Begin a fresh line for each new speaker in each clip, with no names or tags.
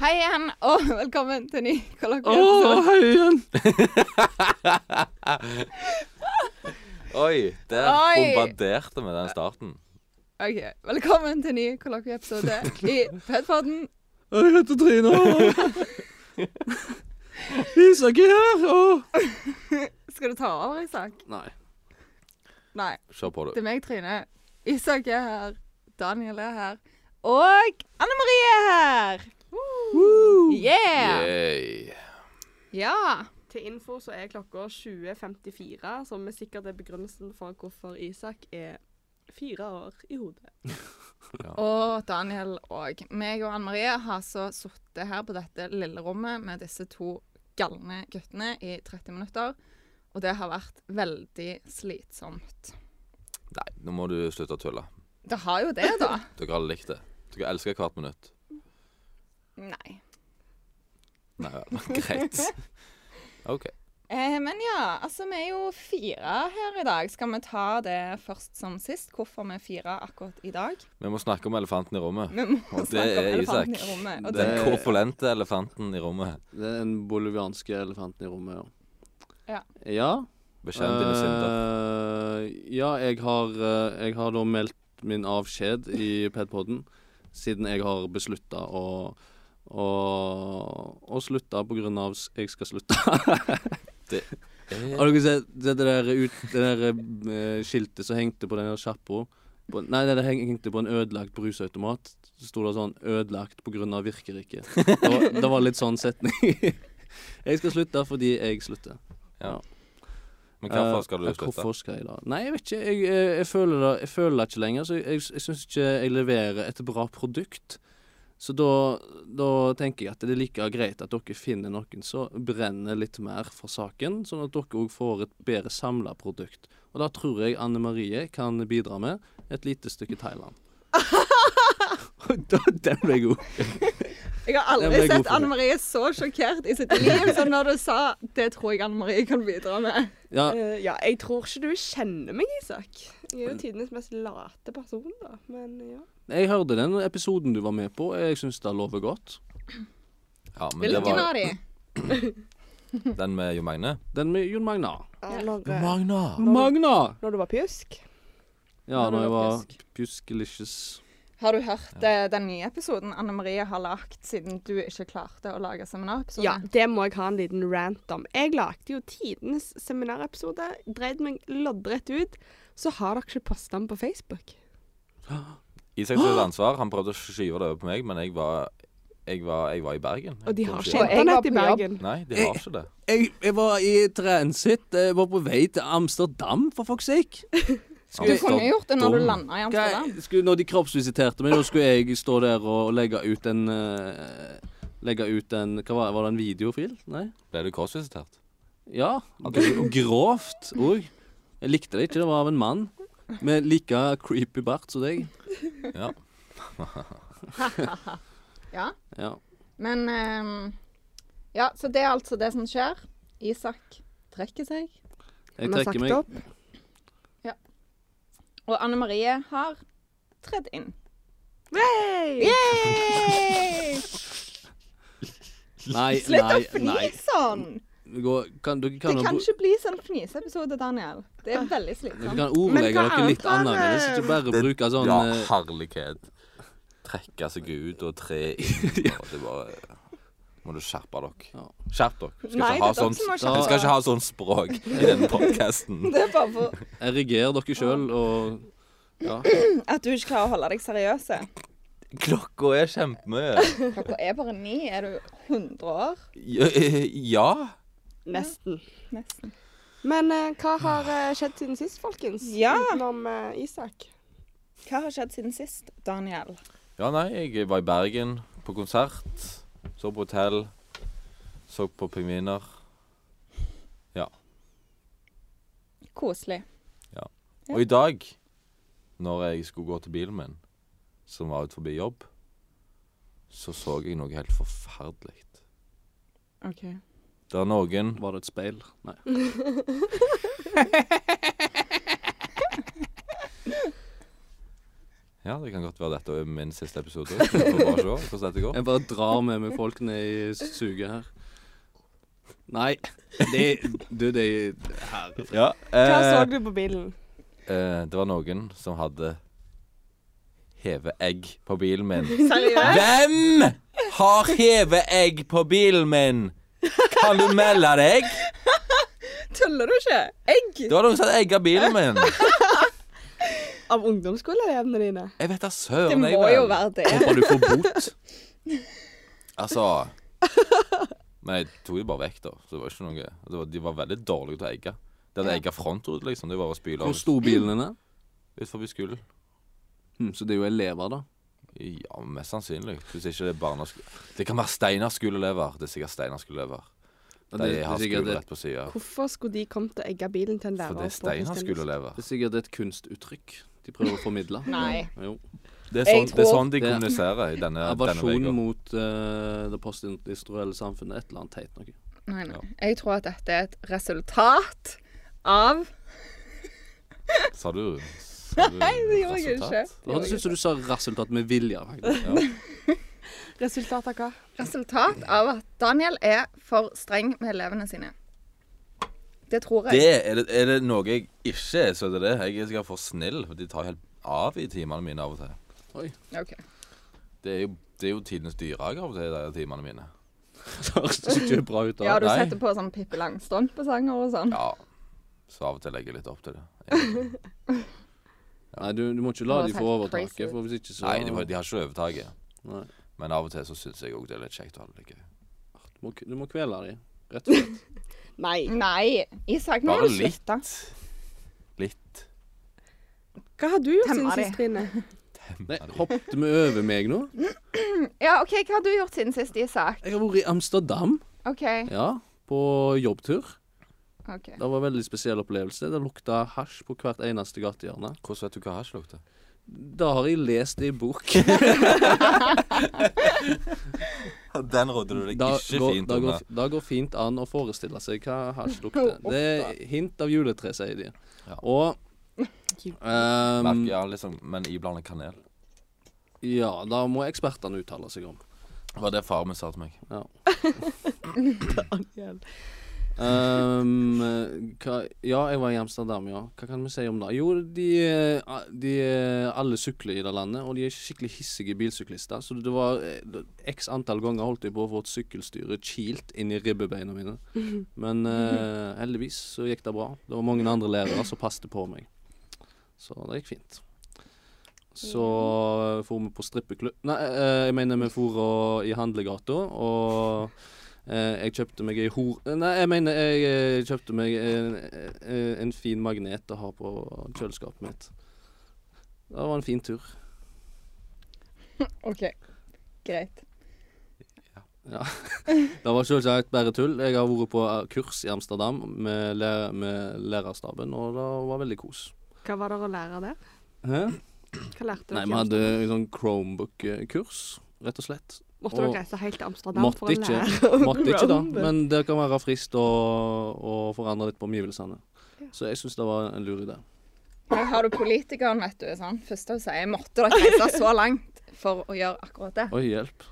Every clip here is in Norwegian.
Hei igjen, og velkommen til ny
Å,
kollokvieepisode.
hei igjen!
Oi, der
Oi.
bombarderte vi den starten.
Ok, Velkommen til ny kollokvieepisode i Fedpodden.
Jeg heter Trine. og- Isak er her. Og...
Skal du ta over, Isak?
Nei.
Nei,
Se på
det
det.
er meg, Trine. Isak er her. Daniel er her. Og Anne Marie er her! Yeah!
Yay.
Ja.
Til info så er klokka 20.54, som er sikkert er begrunnelsen for hvorfor Isak er fire år i hodet.
Og Daniel og meg og Anne Marie har så sittet her på dette lille rommet med disse to galne guttene i 30 minutter. Og det har vært veldig slitsomt.
Nei, nå må du slutte å tulle.
Det har jo det, da.
Dere har likt det. Dere elsker hvert minutt.
Nei.
Nei vel, greit. OK.
Eh, men ja, altså vi er jo fire her i dag. Skal vi ta det først som sist? Hvorfor vi er fire akkurat i dag?
Vi må snakke om elefanten i rommet.
Vi må
Og det
snakke om
er Isak.
elefanten i rommet. Og
Det-
det,
Den korpulente elefanten i rommet.
Det er den bolivianske elefanten i rommet,
Ja.
Ja.
Bekjenn dine synder.
eh, ja, jeg har, eh, jeg har da meldt min avskjed i Pedpoden, siden jeg har beslutta å å, å slutte på grunn av s- jeg skal slutte.
Eh,
Har dere sett det der, ut, det der eh, skiltet som hengte på den der sjappa? På- Nei, det der heng- hengte på en ødelagt brusautomat. Så sto det sånn 'ødelagt pga. virker ikke'. Det var, det var litt sånn setning. jeg skal slutte fordi jeg slutter.
Men hvorfor skal du
Eh,
slutte?
Hvorfor skal jeg da? Nei, jeg vet ikke. Jeg, eh, jeg, føler, det, jeg føler det ikke lenger. Så jeg, jeg, jeg syns ikke jeg leverer et bra produkt. Så da, da tenker jeg at det er like greit at dere finner noen som brenner litt mer for saken, sånn at dere òg får et bedre samla produkt. Og da tror jeg Anne Marie kan bidra med et lite stykke Thailand. Og da- Den ble god.
jeg har
Den ble
aldri
god
sett
for
Anne Marie så sjokkert i sitt liv som når du sa 'det tror jeg Anne Marie kan bidra med'.
Ja,
Eh, ja, jeg tror ikke du kjenner meg, Isak. Jeg er jo tidenes mest late person, da. Men ja.
jeg hørte den episoden du var med på. Jeg syns det lover godt.
Ja, men det
Hvilken av
var
de?
den med Jo Magne.
Den med Jon Magna.
Når, eh,
Jo Magne!
Magna!
når du var pjusk. Når
Ja,
du
når jeg
var
var
pjusk.
pjuskelicious.
Har du hørt eh, den nye episoden Anne Marie har lagt siden du ikke klarte å lage seminarepisode?
Ja, det må jeg ha en liten rant om. Jeg lagde jo tidenes seminarepisode, dreide meg loddrett ut. Så har dere ikke posta den på Facebook.
Isak sitt ansvar. Han prøvde å skyve det over på meg, men jeg var, jeg var, jeg var i Bergen.
Og de har
Kanskje-
ikke
Og jeg var
internett i
på jobb.
Bergen.
Nei, de har ikke det.
Jeg, jeg var i transit. Jeg var på vei til Amsterdam, for fuck's sake.
Du kunne gjort det når du
Dum.
landa i
Hva-
Amsterdam.
skulle, når de kroppsvisiterte meg, da skulle jeg stå der og legge ut en eh, Legge ut en Hva var, var det, en videofil? Nei?
Ble du korsvisitert?
Ja. gr- Grovt òg. Jeg likte det ikke. Det var av en mann med like creepy bart som deg.
Ja.
Ja.
Ja.
Men ehm, Ja, så det er altså det som skjer. Isak trekker seg.
Jeg
Vi har sagt
trekker meg.
opp.
Og Anne Marie har tredd inn.
Hey!
Yay!
Nei,
Slutt å
nei, nei.
fnise sånn!
Det går- Kan, dere
Det
kan, jo
kan
bru-
ikke bli sånn fniseepisode, Daniel. Det er veldig
dere
slitsomt.
kan ordlegge
Men hva
dere litt
annet er
annerledes.
det?
Ikke bare bruke sånn
Ja,
eh,
herlighet. Trekke seg ut og tre inn. og Det bare Må du skjerpe dere.
Ja.
Skjerp dere. Vi Skal
Nei,
ikke ha
det er dere
sånt,
som må
skjerpe
vi skal ikke ha sånn språk i denne podkasten.
Det er bare for
Eriger dere sjøl og ja.
at du ikke klarer å holde deg seriøse.
Klokka er kjempemye.
Klokka er bare ni. Er du 100 år?
Ja.
Nesten.
Nesten.
Men eh, hva har eh, skjedd siden sist, folkens?
Ja.
Utenom eh, Isak.
Hva har skjedd siden sist, Daniel?
Ja, nei, jeg var i Bergen på konsert. Så på hotell. Så på pingviner.
Koselig. Ja.
Og i dag, når jeg skulle gå til bilen min, som var ut forbi jobb, så så jeg noe helt forferdelig.
OK.
Der noen
Var det et speil? Nei.
Ja, det kan godt skal dette være min siste episode. Så vi får bare se hvordan dette går.
Jeg bare drar med meg folk ned i suget her. Nei. Det Du, det her.
Ja,
Hva så
eh,
du på bilen?
eh, det var noen som hadde hevet egg på bilen min.
Seriøst?
Hvem har hevet egg på bilen min? Kan du melde deg?
Tuller du ikke? Egg?
Det var noen som hadde egga bilen min.
Av ungdomsskoleelevene dine?
Jeg vet da
Det
søren. Sånn, jeg,
må
vel.
jo være det.
Håper du får bot.
Altså Men jeg tok det bare vekk, da. Så det var ikke noe det var, De var veldig dårlige til å egge. De hadde
Ja.
egga frontrute, liksom. Det var å spyle
Hvor stor bilen din er?
ut forbi skolen.
Hm, så det er jo elever, da.
Ja, mest sannsynlig. Hvis ikke det er barnesko... Det kan være Steiners skoleelever. Det er sikkert Steiners skoleelever. De
Ja, det, det, er
har
sikkert
skole
et,
rett på sida.
Hvorfor skulle de kommet og egge bilen til en lærer?
For det er
på
Steiners
Kristiansand?
skoleelever.
det er sikkert et kunstuttrykk de prøver å formidle.
Nei.
Jo.
Det er
Jeg
sånn, det er
tror-
sånn de
Det er-
kommuniserer i denne, denne
Aversjon
veka.
mot eh, det postindustrielle samfunnet. Et eller annet teit noe.
Nei, nei.
Ja.
Jeg tror at dette er et resultat av
Sa du Sa du
Nei, det gjorde jeg ikke.
resultat?
Det hørtes ut som du sa resultat med vilje, faktisk.
Resultat av hva?
Resultat av at Daniel er for streng med elevene sine. Det tror jeg.
Det er, det, er det noe jeg ikke er, så er det det. Jeg er sikkert for snill. For de tar helt av i timene mine av og til.
Ok.
Det er jo, det er jo tidenes dyrehage av og til, de timene mine.
Det høres ikke bra ut.
Ja,
da.
du
Nei.
setter på sånn Pippi Langstrømpe-sanger og sånn.
Ja. Så av og til legger jeg litt opp til det. egentlig.
Nei, du, du må ikke la
Det
de
var helt
få
crazy.
overtaket, for hvis ikke så
Nei, de, har- de har ikke overtaket.
Nei.
Men av og til så syns jeg òg det er litt kjekt å ha det litt gøy.
Du må, du må kvele de, rett og slett.
Nei.
Nei, Isak, nå
Bare
må du
litt.
slutte.
Litt.
Hva har du gjort
Hvem
siden
er
sist,
det?
Trine?
Nei, hoppet vi over meg nå?
Ja, OK, hva har du gjort siden sist, Isak?
Jeg har vært i Amsterdam,
OK.
ja, på jobbtur.
ok.
Det var en veldig spesiell opplevelse. Det lukta hasj på hvert eneste gatehjørne.
Hvordan vet du hva hasj lukter?
Det har jeg lest i bok.
Den rådde du
Det går, da
eh,
går, da går fint an å forestille seg hva hasj lukter. Det er hint av juletre, sier de.
Ja.
Og ehm,
ja, liksom, men iblandet kanel.
Ja, da må ekspertene uttale seg om.
Det var det faren min sa til meg.
Ja.
Daniel.
Ehm, hva, ja, jeg var i Amsterdam, ja. Hva kan vi si om det? Jo, de, eh, de eh, alle sykler i det landet, og de er skikkelig hissige bilsyklister. Så det var eh, x antall ganger holdt jeg på å få et sykkelstyre kilt inn i ribbebeina mine. Men eh, heldigvis så gikk det bra. Det var mange andre lærere som passet på meg. Så det gikk fint. Så eh, for vi på strippeklubb Nei, eh, jeg mener vi for og, i handlegata, og eh, jeg kjøpte meg ei hor... Nei, jeg mener jeg eh, kjøpte meg en, eh, en fin magnet å ha på kjøleskapet mitt. Det var en fin tur.
OK. Greit.
Det var selvsagt bare tull. Jeg har vært på eh, kurs i Amsterdam med, læ med lærerstaben, og det var veldig kos.
Hva var det å lære der?
Hæ?
Hva lærte dere?
Nei, vi hadde en sånn Chromebook-kurs, rett og slett.
Måtte
og-
dere reise helt til Amsterdam
Måtte
for å
ikke.
lære om
Måtte ikke da,
Chromebook?
men det kan være frist å, å forandre litt på omgivelsene.
Ja.
Så jeg syns det var en lur idé.
Her har du politikeren, vet du. Sånn. Første hun sier, jeg måtte dere reise så langt for å gjøre akkurat det.
Oi, hjelp.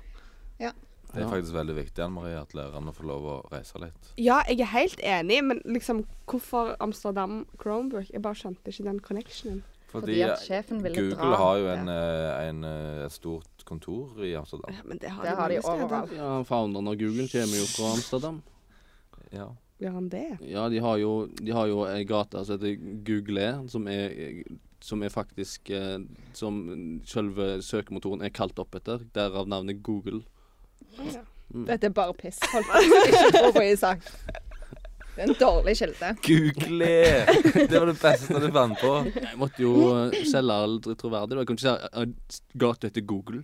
Ja.
Det er
Ja.
faktisk veldig viktig Anne Marie, at lærerne får lov å reise litt.
Ja, jeg er helt enig, men liksom, hvorfor Amsterdam Chromebook? Jeg bare skjønte ikke den connectionen.
Fordi at sjefen ville dra.
Google har jo en, eh, en, eh, et stort kontor i Amsterdam.
Ja, men det har
Det
de
har de
mange steder.
overalt.
Ja, Founderen av Google kommer jo fra Amsterdam.
Ja.
Gjør han det?
Ja, de har jo, de har jo ei gate som heter Google, E, som er, som er faktisk eh, Som selve søkemotoren er kalt opp etter. Derav navnet Google.
Ja.
Dette er bare piss. Folk ikke tro på Isak. Det er en dårlig kilde.
Google! Det var det beste du fant på.
Jeg måtte jo eh, selge alt troverdig. da. Jeg kunne ikke si at gata heter Google.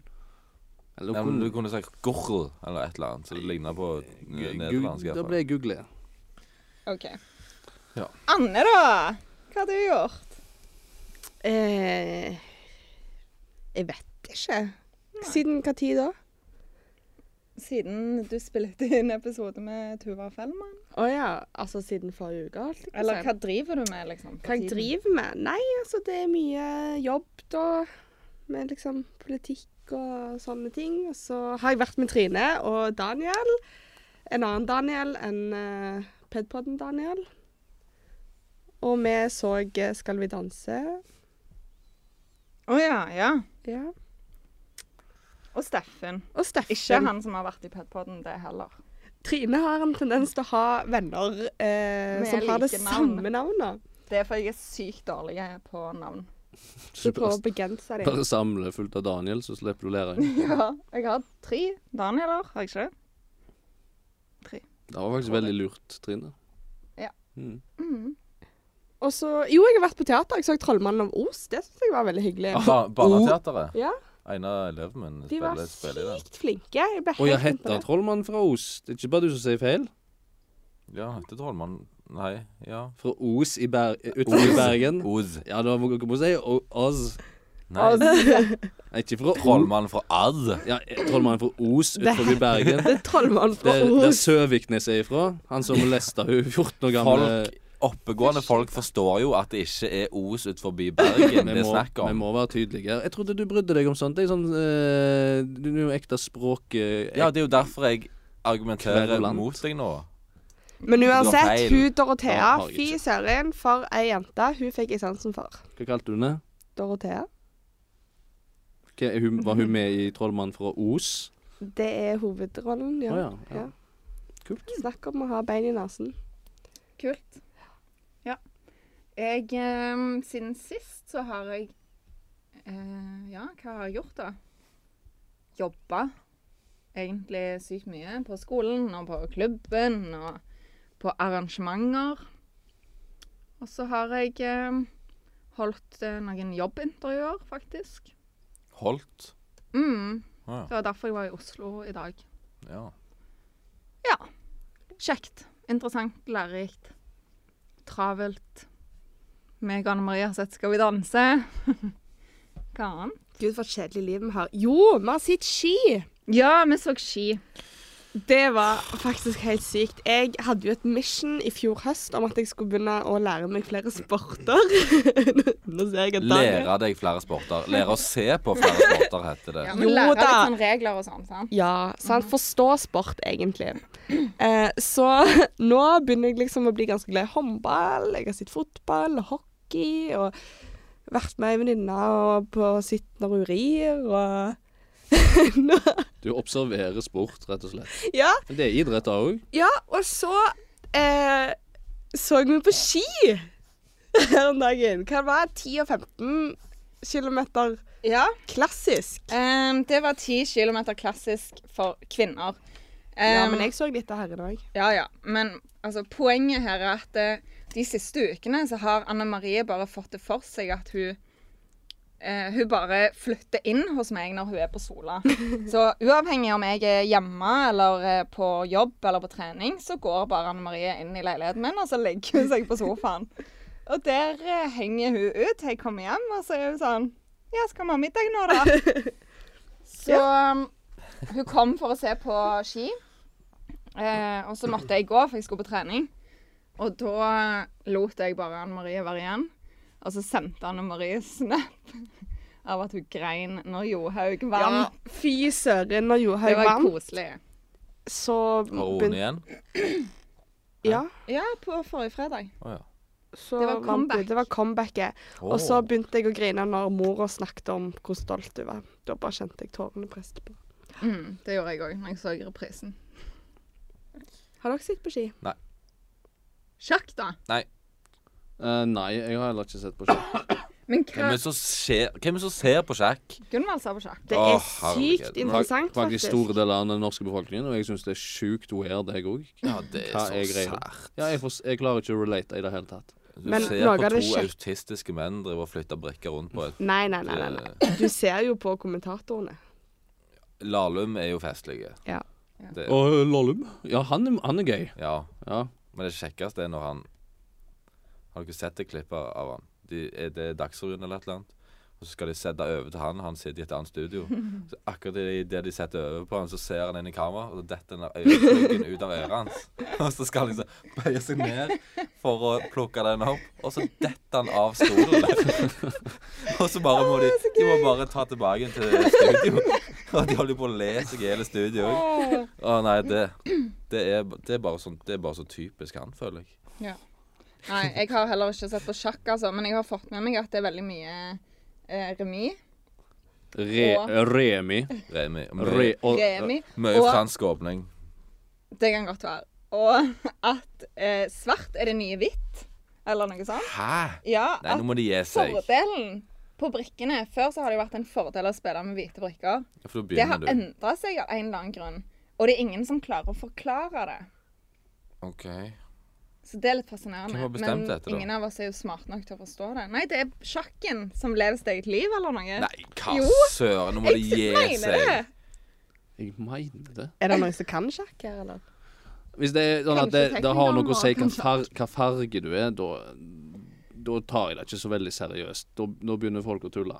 Eller
Nei, men
kunne- Eh,
du kunne sagt Gorl eller et eller annet, så det ligner på n-
Gu-
nederlandsk. i
Gu-
hvert
Da
fall.
ble E. jeg googlet.
OK.
Ja.
Anne, da? Hva har du gjort?
Eh, jeg vet ikke. Siden hva tid da?
Siden du spilte inn episode med Tuva Fellmann?
Å ja, altså siden forrige uke. holdt jeg på å
Eller
si.
hva driver du med, liksom?
hva jeg driver med? Nei, altså det er mye jobb da. med liksom politikk og sånne ting. Og så har jeg vært med Trine og Daniel. En annen Daniel enn uh, Pedpodden-Daniel. Og vi så eh, Skal vi danse.
Å ja, ja.
Ja.
Og Steffen.
Og Steffen.
Ikke han som har vært i Pedpodden, det heller.
Trine har en tendens til å ha venner eh,
Med
som har det
like navn.
samme navnet.
Det er fordi jeg er sykt dårlig på navn.
Så
Bare,
prøver å begrense dem.
bare samle fullt av Daniel, så slipper du å lære inn.
Ja, jeg har tre Danieler, har jeg ikke det?
Det var faktisk veldig lurt, Trine.
Ja.
Mm.
Mm.
Og så Jo, jeg har vært på teater. Jeg så 'Trollmannen av Os'. Det syns jeg var veldig hyggelig.
Ah,
Ba Barneteatret.
Ja,
Einar eleven min
De var
spiller, spiller i den.
sykt flinke. Jeg ble
Og jeg
helt
heter
imponert.
Trollmannen fra Os. Det er ikke bare du som sier feil.
Ja, han heter Trollmann Nei, ja.
Fra Os i Ber eh, utenfor Bergen.
Oz.
Ja, da må må si O- Oz.
Nei.
Nei, Ikke fra
Trollmann
Trollmann.
fra Ad.
Ja, eh, Trollmannen fra Os utenfor Bergen.
Det er Trollmannen fra
Der, der
Os.
Søviknes er ifra. Han som molesta hun 14 år gamle
Folk, oppegående folk forstår jo at det ikke er Os ut forbi Bergen
Vi
det er
må,
snakk
vi
om.
må være tydelige. Jeg trodde du brydde deg om sånt. Det er sånn, eh, du er jo ekte språk... eh,
Ja, det er jo derfor jeg argumenterer
Kverulant.
mot deg nå.
Men uansett,
feil.
hun
Da
Dorothea,
har jeg
fy
ikke.
søren, for ei jente hun fikk jeg sansen for.
Hva kalte du henne?
Dorothea.
Hva- er hun- Var hun med i 'Trollmannen fra Os'?
Det er hovedrollen, ja.
Å ja, ja. Kult.
Snakk om å ha bein i nesen.
Kult. Ja. Jeg eh, Siden sist så har jeg eh, Ja, hva har jeg gjort, da? Jobba egentlig sykt mye. På skolen og på klubben og på arrangementer. Og så har jeg eh, holdt eh, noen jobbintervjuer, faktisk.
Holdt.
Mm.
Å ja.
Det var derfor jeg var i Oslo i dag.
ja.
Ja. Kjekt. Interessant. Lærerikt. Travelt. Meg og Anne Marie har sett 'Skal vi danse'. Hva annet?
Gud, for et kjedelig liv vi har. Jo, vi har sett ski!
Ja, vi så ski.
Det var faktisk helt sykt. Jeg hadde jo et mission i fjor høst om at jeg skulle begynne å lære meg flere sporter. Nå ser jeg at Daniel
Lære deg flere sporter. Lære å se på flere sporter, heter det.
Ja,
men
men
lære
lære litt
litt
sånn regler og sånn. sant?
Ja, sant. Forstå sport, egentlig. Eh, så nå begynner jeg liksom å bli ganske glad i håndball. Jeg har sett fotball og hockey og vært med ei venninne og på sitt når hun rir og nå,
Du observerer sport, rett og slett.
ja,
Men det er idrett òg.
ja, og så eh, så vi på ski her om dagen. Hva var det? 10 og 15 kilometer
Ja.
klassisk?
det var ti kilometer klassisk for kvinner.
ja, men jeg så litt av herrene òg.
Ja, ja. Men altså, poenget her er at eh, de siste ukene så har Anne Marie bare fått det for seg at hun eh, hun bare flytter inn hos meg når hun er på Sola. Så uavhengig om jeg er hjemme eller eh, på jobb eller på trening, så går bare Anne Marie inn i leiligheten min, og så legger hun seg på sofaen. Og der eh, henger hun ut til jeg kommer hjem, og så er hun sånn Ja, skal vi ha middag nå, da? Så um, hun kom for å se på ski. Eh, og så måtte jeg gå, for jeg skulle på trening. Og da eh, lot jeg bare Anne Marie være igjen. Og så sendte Anne Marie snap av at hun grein når Johaug
Ja,
vant.
men fy søren, når
det
Johaug
var
vant
koselig.
så
Har hun
begyn-
igjen?
Ja,
Ja, på forrige fredag.
Å ja.
så
Det var
vant hun.
comeback.
Det var comebacket. Og så begynte jeg å grine når mora snakket om hvor stolt hun var. Da bare kjente jeg tårene presse på.
Mm, det gjorde jeg òg når jeg så reprisen.
Har dere sett på ski?
Sjakk, da.
Eh, nei, jeg har heller ikke sett på ski.
Men
Hvem
hva
er det som ser- hvem er det som ser på sjakk?
Gunvald sa på sjakk.
Det
Å,
er
herregud.
sykt
Fak-
interessant,
Faktisk
faktisk.
store deler av den norske befolkningen, og jeg syns det er sjukt weird, jeg òg.
Ja, det
Hva er greia? Ja, jeg, får- jeg klarer ikke å relate i det hele tatt.
Du
Men
ser
noe
på
av det
to
skjer-
autistiske menn drive og flytte brikker rundt på et
Nei, nei, nei, nei, nei. Du ser jo på kommentatorene.
Lahlum er jo festlige.
Ja.
Ja.
Det,
Og eh, Lollum. Ja, han, er- han er gøy.
ja.
Ja.
Men det kjekkeste er når han Har dere sett det klippet av han? De, er det Dagsrevyen eller et eller annet? Og så skal de sette over til han, han sitter i et annet studio. Så akkurat i det de setter over på han, så ser han inn i kamera, og så detter den der øyepluggen ut av øret hans. Og så skal han liksom bøye seg ned for å plukke den opp, og så detter han av stolen der. Og så bare må de De må bare ta tilbake den til studio. Og de holder på å le seg i hele studio òg. Å nei, det, det, er, det, er bare sånn, det er bare så typisk han, føler jeg.
Nei, jeg har heller ikke sett på sjakk, altså, men jeg har fått med meg at det er veldig mye eh, remis.
Re, remi.
Remi.
Re,
Mye,
og,
Remi.
mye
Og-
fransk åpning.
Det kan godt være. Og at eh, svart er det nye hvitt, eller noe sånt.
Hæ?
Ja,
Nei, nå
at
må de gi seg.
fordelen på brikkene Før så har det jo vært en fordel å spille med hvite brikker.
Ja, For da
Det har
begynner du.
endra seg av en eller annen grunn. Og det er ingen som klarer å forklare det.
OK.
Så det er litt fascinerende.
Hvem har bestemt
men
dette da?
ingen av oss er jo smart nok til å forstå det. Nei, det er sjakken som lever sitt eget liv, eller noe.
Nei, hva
Jo.
søren, nå må de gi seg.
det.
jeg mener det.
Er det noen som kan sjakk her, eller?
Hvis det er sånn at det,
Kanskje
det har noe å si hva,
teknikeren må-
far, hva farge du er, da da tar jeg det ikke så veldig seriøst. Da, da begynner folk å tulle.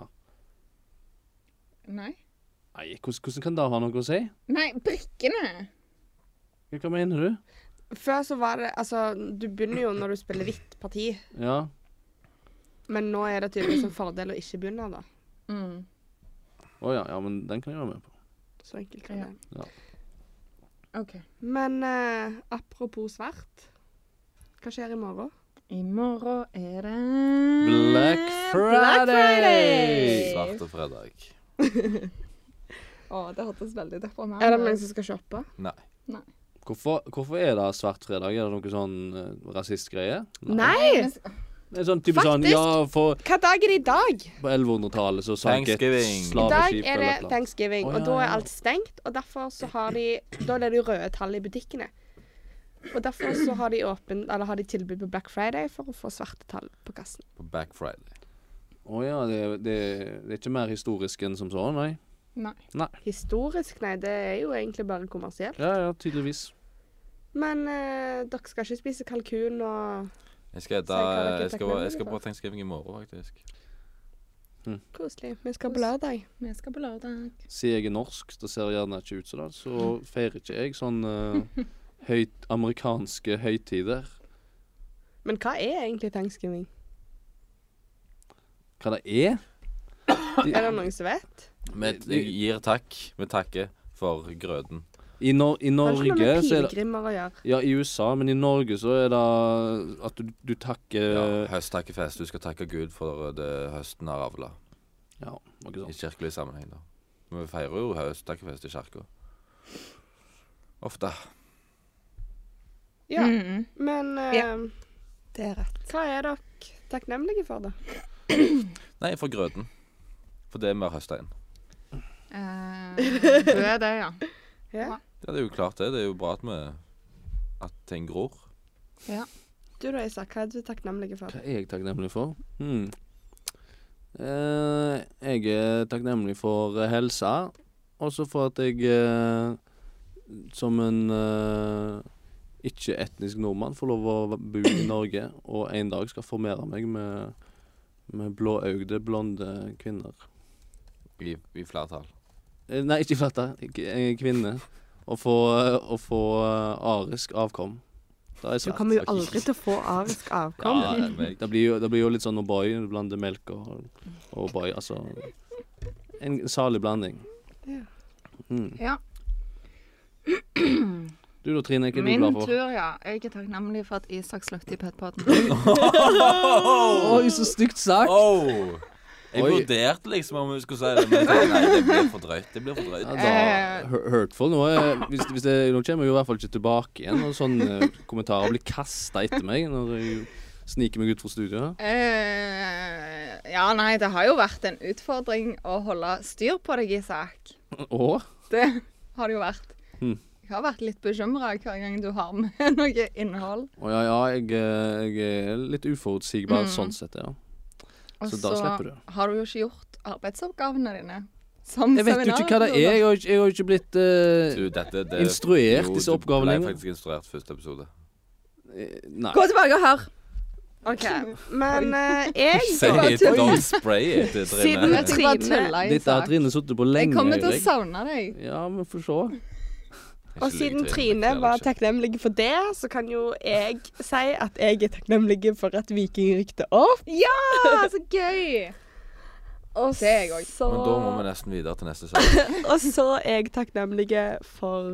Nei.
Nei, hvordan, hvordan kan det ha noe å si?
Nei, brikkene.
Hva mener du?
Før så var det Altså, du begynner jo når du spiller hvitt parti,
Ja.
men nå er det tydeligvis en fordel å ikke begynne, da.
Mm.
Å ja, ja, men den kan jeg være med på.
Så enkelt er det.
OK.
Men eh, apropos svart. Hva skjer i morgen?
I morgen er det
Black Friday!
Svart og fredag.
Å, det hørtes veldig
Er det
deprimerende
noen
ut.
som skal shoppe?
Nei.
Hvorfor, hvorfor er det svart fredag? Er det noe sånn eh, rasistgreie?
Nei!
Det er sånn type sånn Ja, for
Hva dag er det i dag?
på 1100-tallet så sank et
Thanksgiving. I
I dag er
slaveskip eller
det
et eller annet.
thanksgiving,
Å,
og
ja,
da
ja.
er alt stengt. Og derfor så har de Da er det de røde tallene i butikkene. Og derfor så har de åpen, eller har de tilbud på Black Friday for å få svarte tall på kassen.
På Back Friday.
Å ja, det, det, det er ikke mer historisk enn som så, nei.
Nei.
Historisk, nei, det er jo egentlig bare kommersielt.
Ja, ja, tydeligvis.
Men eh, dere skal ikke spise kalkun og
Jeg skal
Så jeg
ete
klarer ikke
jeg, skal-
teknologi,
jeg skal
da.
på Thanksgiving i morgen, faktisk.
Koselig. Vi skal på lørdag.
Vi skal på lørdag.
Sier jeg er norsk, det ser gjerne ikke ut som det, så feirer ikke jeg sånn eh, høyt, amerikanske høytider.
Men hva er egentlig thanksgiving?
Hva det er?
Er det noen som vet?
Vi jeg gir takk. Vi takker for grøten.
I, Nor i
Har det ikke noe
Norge
med
så er det
pilegrimer å gjøre?
Ja, i USA, men i Norge så er det at du, du takker
Ja,
ja.
høsttakkefest. Du skal takke Gud for det høsten har avla.
noe
I
sånt.
kirkelig sammenheng, da. Men vi feirer jo høsttakkefest i kirka. Ofte.
Ja.
Mm.
Men eh,
Ja. Det er rett.
hva er dere takknemlige for, da?
Nei, for grøten. For det vi har høsta inn.
Mm. Eh, du er det, ja.
Ja.
Ja, det er jo klart, det. Det er jo bra at vi At ting gror.
Du da, Isak, hva er du takknemlig for?
Hva er jeg takknemlig for? Hmm. Eh, jeg er takknemlig for eh, helsa, og så for at jeg eh, som en eh, ikke-etnisk nordmann får lov å bo i Norge og en dag skal formere meg med, med blåøyde, blonde kvinner.
I, i flertall.
Eh, Nei, ikke fletta. Kvinne. Og få, og få eh, arisk avkom. Det er
Du
svært.
kommer jo aldri til å få arisk avkom.
Ja, det er meg.
Det blir jo, det blir jo litt sånn O'boy blander melk og, og O'boy. Altså en salig blanding.
Ja.
Mm.
ja.
Du da, Trine, hva er du
Min
glad for?
tur, ja. Jeg er takknemlig for at Isak slukte i petpoden.
Oi, så stygt sagt!
Oh! Jeg
Oi.
vurderte liksom om hun skulle si det, men jeg tenkte, nei, det blir for drøyt. Det blir for drøyt.
Ja, da, hu- hurtful. Nå, er, hvis, hvis det, nå kommer jeg jo i hvert fall ikke tilbake igjen når sånne kommentarer blir kasta etter meg når jeg sniker meg ut fra studio her.
Eh, ja, nei, det har jo vært en utfordring å holde styr på deg, Isak.
Å?
Det har det jo vært.
Mm.
Jeg har vært litt bekymra hver gang du har med noe innhold.
Å ja, ja, jeg, eh, jeg er litt uforutsigbar
Mm.
sånn sett, ja.
Og
Så da slipper du.
har du jo ikke gjort arbeidsoppgavene dine. Som
Jeg vet jo ikke hva det er. Jeg har jo ikke, jeg har jo ikke blitt eh,
Du, dette, det,
Instruert
Jo,
disse
du
oppgavene
ble
lenger?
faktisk instruert første episode.
eh, Nei.
Gå tilbake og hør. OK.
Men eh, jeg
Say
bare
it,
tuller.
don't spray it.
Siden
Trine.
Jeg skal bare
Trine.
tulle i
Dette har
sak.
Trine sittet på lenge.
Jeg kommer til å
Erik.
savne deg.
Ja, vi får se.
Og siden Trine
Jeg
var
liker
takknemlig for det, så kan jo jeg si at jeg er takknemlig for at Viking rykte opp.
Ja, Ah, så gøy!
Og
Det er jeg også.
så-
Men da må vi nesten videre til neste sak.
Og så er jeg takknemlig for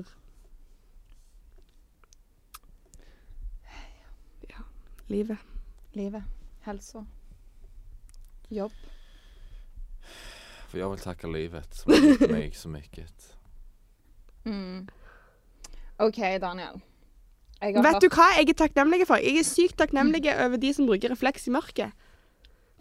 Ja, livet.
Livet. Helsa. Jobb.
For jeg vil takke livet som har gitt meg så mye.
Mm. OK, Daniel. Jeg har
Vet du hva jeg er takknemlig for? Jeg er sykt takknemlig over de som bruker refleks i mørket.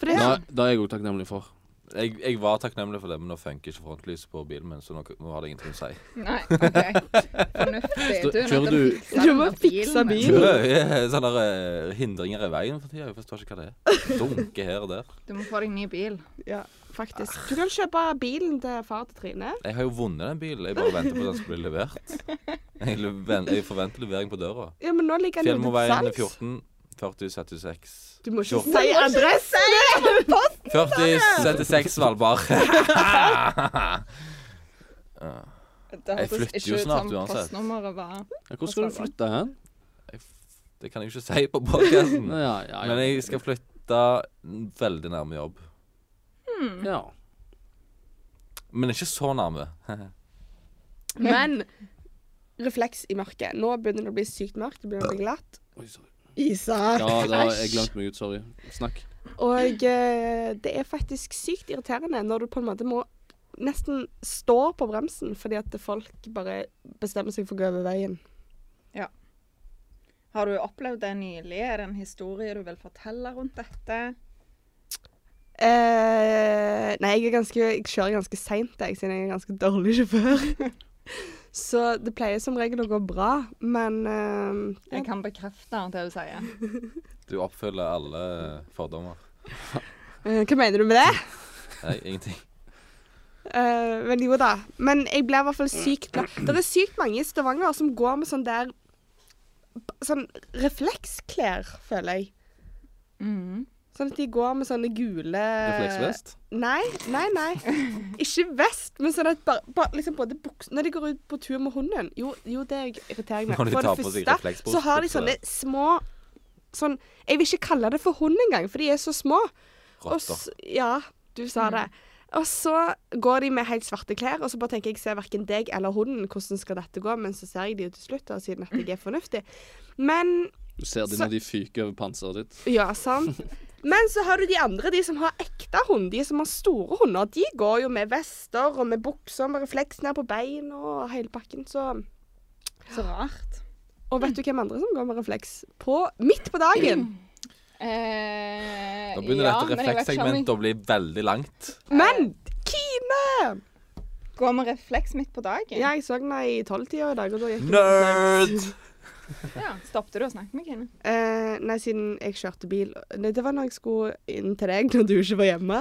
For det,
Da, da er jeg òg takknemlig for.
Jeg, jeg var takknemlig for det, men nå funker ikke frontlyset på bilen min, så nå, nå har det ingenting å si.
Nei, OK. Fornuftig. Du er nødt
Kjører
til å
du-
fikse
Du må
denne
fikse
bilen.
bilen.
Mye Sånne eh, hindringer i veien for tida. Jeg forstår ikke hva det er. Dunker her og der.
Du må få deg ny bil.
ja, faktisk. Du kan kjøpe bilen til far til Trine.
Jeg har jo vunnet den bilen. Jeg bare venter på at den skal bli levert. Jeg, leven- jeg forventer levering på døra.
Ja, men nå ligger den jo
Fjellmoveien
til
er
salgs.
14 40 76.
Du må ikke
14.
si adressen!
40 76 Svalbard.
Det
Jeg
hørtes
flytter
ikke
jo
ut
snart
som
uansett.
postnummeret var
Ja, Hvor skal du flytte hen?
Jeg f- Det kan jeg jo ikke si på podkasten.
Ja, ja, ja.
Men jeg skal flytte veldig nærme jobb.
ja.
Men ikke så nærme.
Men refleks i mørket. Nå begynner det å bli sykt mørkt. Det begynner å bli glatt.
Oi, sorry.
Isak.
Ja, da har jeg
Æsj.
glemt meg ut. Sorry. Snakk.
Og eh, det er faktisk sykt irriterende når du på en måte må nesten stå på bremsen fordi at folk bare bestemmer seg for å gå over veien.
Har du opplevd det nylig? Er det en historie du vil fortelle rundt dette?
Eh, nei, jeg, er ganske, jeg kjører ganske seint, jeg, siden jeg er ganske dårlig sjåfør. Så det pleier som regel å gå bra, men eh,
Jeg kan bekrefte det du sier.
Du oppfyller alle fordommer.
eh, Hva mener du med det?
Nei, ingenting.
Eh, men jo da. Men jeg ble i hvert fall sykt glad. Det er sykt mange i Stavanger som går med sånn der Sånn refleksklær, føler jeg.
Mm.
Sånn at de går med sånne gule
Eh,
Refleksvest?
Nei, nei, nei. Ikke vest, men sånn at bare, bare liksom både buks... Når de går ut på tur med hunden Jo, jo det irriterer meg.
Når de
For
tar på
det
seg
første
refleksbukser.
så har de sånne små Sånn Jeg vil ikke kalle det for hund engang, for de er så små. Og
Rotter. Mm.
s- ja, du sa det. Og så går de med helt svarte klær, og så bare tenker jeg ser verken deg eller hunden hvordan skal dette gå, men så ser jeg de jo til slutt, da, siden at jeg er fornuftig. Men
Du ser det
Så-
når de fyker over panseret ditt.
ja, sant. Men så har du de andre, de som har ekte hund, de som har store hunder. De går jo med vester og med bukser med refleks ned på beina og hele pakken, så
Så rart.
Og vet du hvem andre som går med refleks? På Midt på dagen.
Eh,
Nå begynner
ja,
dette
men jeg vet ikke om jeg
reflekssegmentet å bli veldig langt.
Men Kine!
Går med refleks midt på dagen?
Ja, jeg så henne i tolvtida i dag, og da gikk hun
Nerd!
Ja, Stoppet du å snakke med Kine?
Eh, nei, siden jeg kjørte bil Nei, det var når jeg skulle inn til deg når du ikke var hjemme.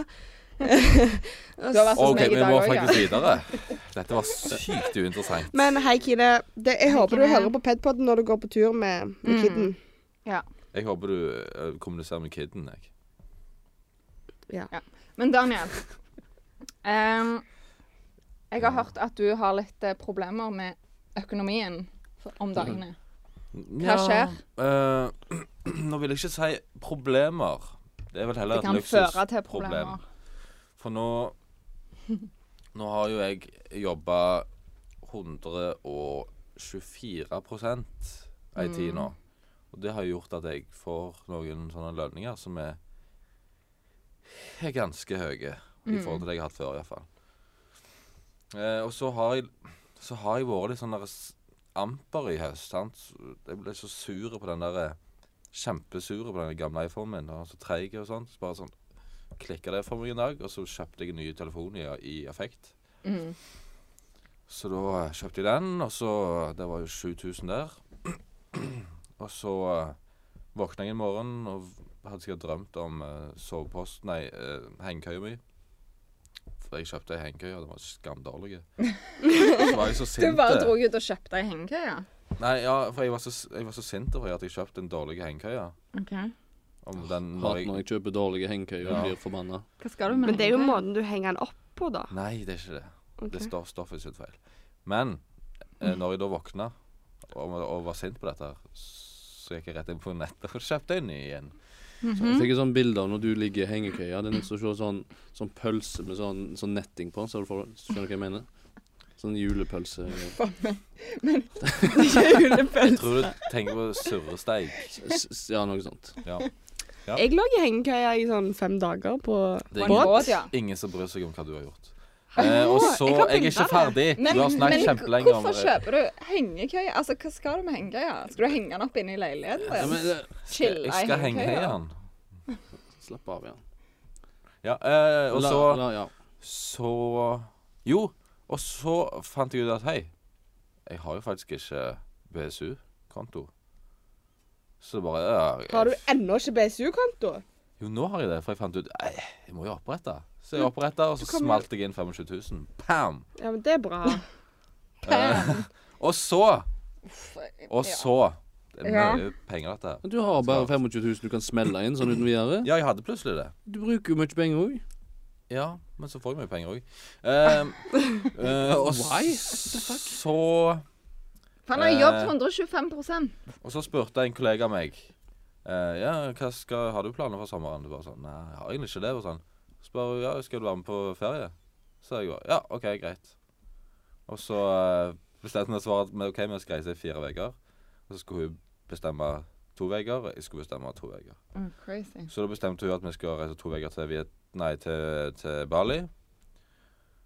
Du har vært hos
OK,
meg Altså, i
vi
dag
må
også, ja.
faktisk videre. Dette var sykt uinteressant.
Men hei, Kine. Det, jeg
Hei,
håper du
Kine.
hører på Pedpodden når du går på tur med, med
Mm.
kidden.
Jeg håper du eh, kommuniserer med kiden. Jeg.
Men Daniel ehm, Jeg har hørt at du har litt eh, problemer med økonomien for- om dagene. Hva skjer?
Eh, nå vil jeg ikke si problemer. Det er vel heller
Det
et
kan føre til
luksusproblem.
problemer.
For nå Nå har jo jeg jobba 124 ei
Mm.
tid nå. Og det har gjort at jeg får noen sånne lønninger som er, er ganske høye i forhold til det jeg har hatt før, iallfall. Eh, og så har jeg så har jeg vært litt sånn der s- amper i høst. Sant? Så Jeg ble så sur på den der eh, Kjempesur på den gamle iPhonen min. Og så treig og sånn. Så bare sånn klikka det for meg en dag, og så kjøpte jeg en ny telefon i, i affekt.
Mm.
Så da eh, kjøpte jeg den, og så eh, Det var jo 7000 der. og så eh, våkna jeg en morgen og hadde sikkert drømt om uh, sovepost Nei, uh, hengekøya mi. For jeg kjøpte ei hengekøye, og den var skamdårlig. så var jeg så
Du
sint.
bare dro ut og kjøpte ei hengekøye?
Nei, ja, for jeg var så, jeg var så sint over at jeg kjøpte en dårlig hengekøye.
Okay.
Om den når
Hat
jeg-
når jeg kjøper dårlige hengekøyer
Ja.
og blir forbanna.
Hva skal du med
Men det er jo
noe?
måten du henger den opp på, da.
Nei, det er ikke det.
Ok. Mm.
Det står stoffet sitt feil. Men eh, når jeg da våkna og, og var sint på dette, her, så gikk jeg rett inn på nettet og kjøpte en ny igjen.
Mhm.
Jeg fikk et sånt bilde av når du ligger i hengekøya. Det er nesten som å se sånn, sånn pølse med sånn, sånn netting på. Så du får, skjønner du hva jeg mener? Sånn julepølse.
Jeg tror du tenker på surresteig.
S- s- Ja, noe sånt.
Ja. Ja.
Jeg lå i hengekøya i sånn fem dager på
Det er
På en
båt.
båt, ja.
Ingen som bryr seg om hva du har gjort. Eh, og så
jeg
Jeg
kan
er ikke
bilde av
ferdig. Du har snakket kjempelenge om
hvorfor
det.
kjøper du hengekøye? Altså, hva skal du med hengekøya? Skal du henge den opp inne i leiligheten
Ja,
din?
men, eh, det-
Chille
eh, Jeg skal henge i den.
slapp av, ja.
Ja, eh, og
La-
så
la- ja.
Så Jo, og så fant jeg ut at hei, jeg har jo faktisk ikke BSU-konto. Så bare ja,
Har du ennå ikke BSU-konto?
Jo, nå har jeg det, for jeg fant ut Nei, jeg må jo opprette. Så jeg oppretta, og så
kan jo-
smalt jeg inn 25 000. Pam!
Ja, men det er bra.
Og så Eh, Og
Ja.
så Det er
Ja.
mye penger, dette her.
Men Du har bare 25 000 du kan smelle inn sånn uten videre.
Ja, jeg hadde plutselig det.
Du bruker jo mye penger òg.
Ja, men så får jeg mye penger òg. Um, eh, og
Why?
så
For han har
Eh.
jobbet 125
Og så spurte en kollega meg eh, Ja, hva skal, har du planer for sommeren? Du bare sånn, nei, jeg har egentlig ikke det Og sånn Spør hun, ja, skal du være med på ferie? Så jeg bare, ja, ok, greit Og så eh, bestemte hun å svare at «Men Ok, vi skal reise i fire veker Og så skulle hun bestemme to veker Jeg skulle bestemme to veker
Oh, crazy.
Så da bestemte hun at vi skulle reise to veker til, Viet nei, til, til Bali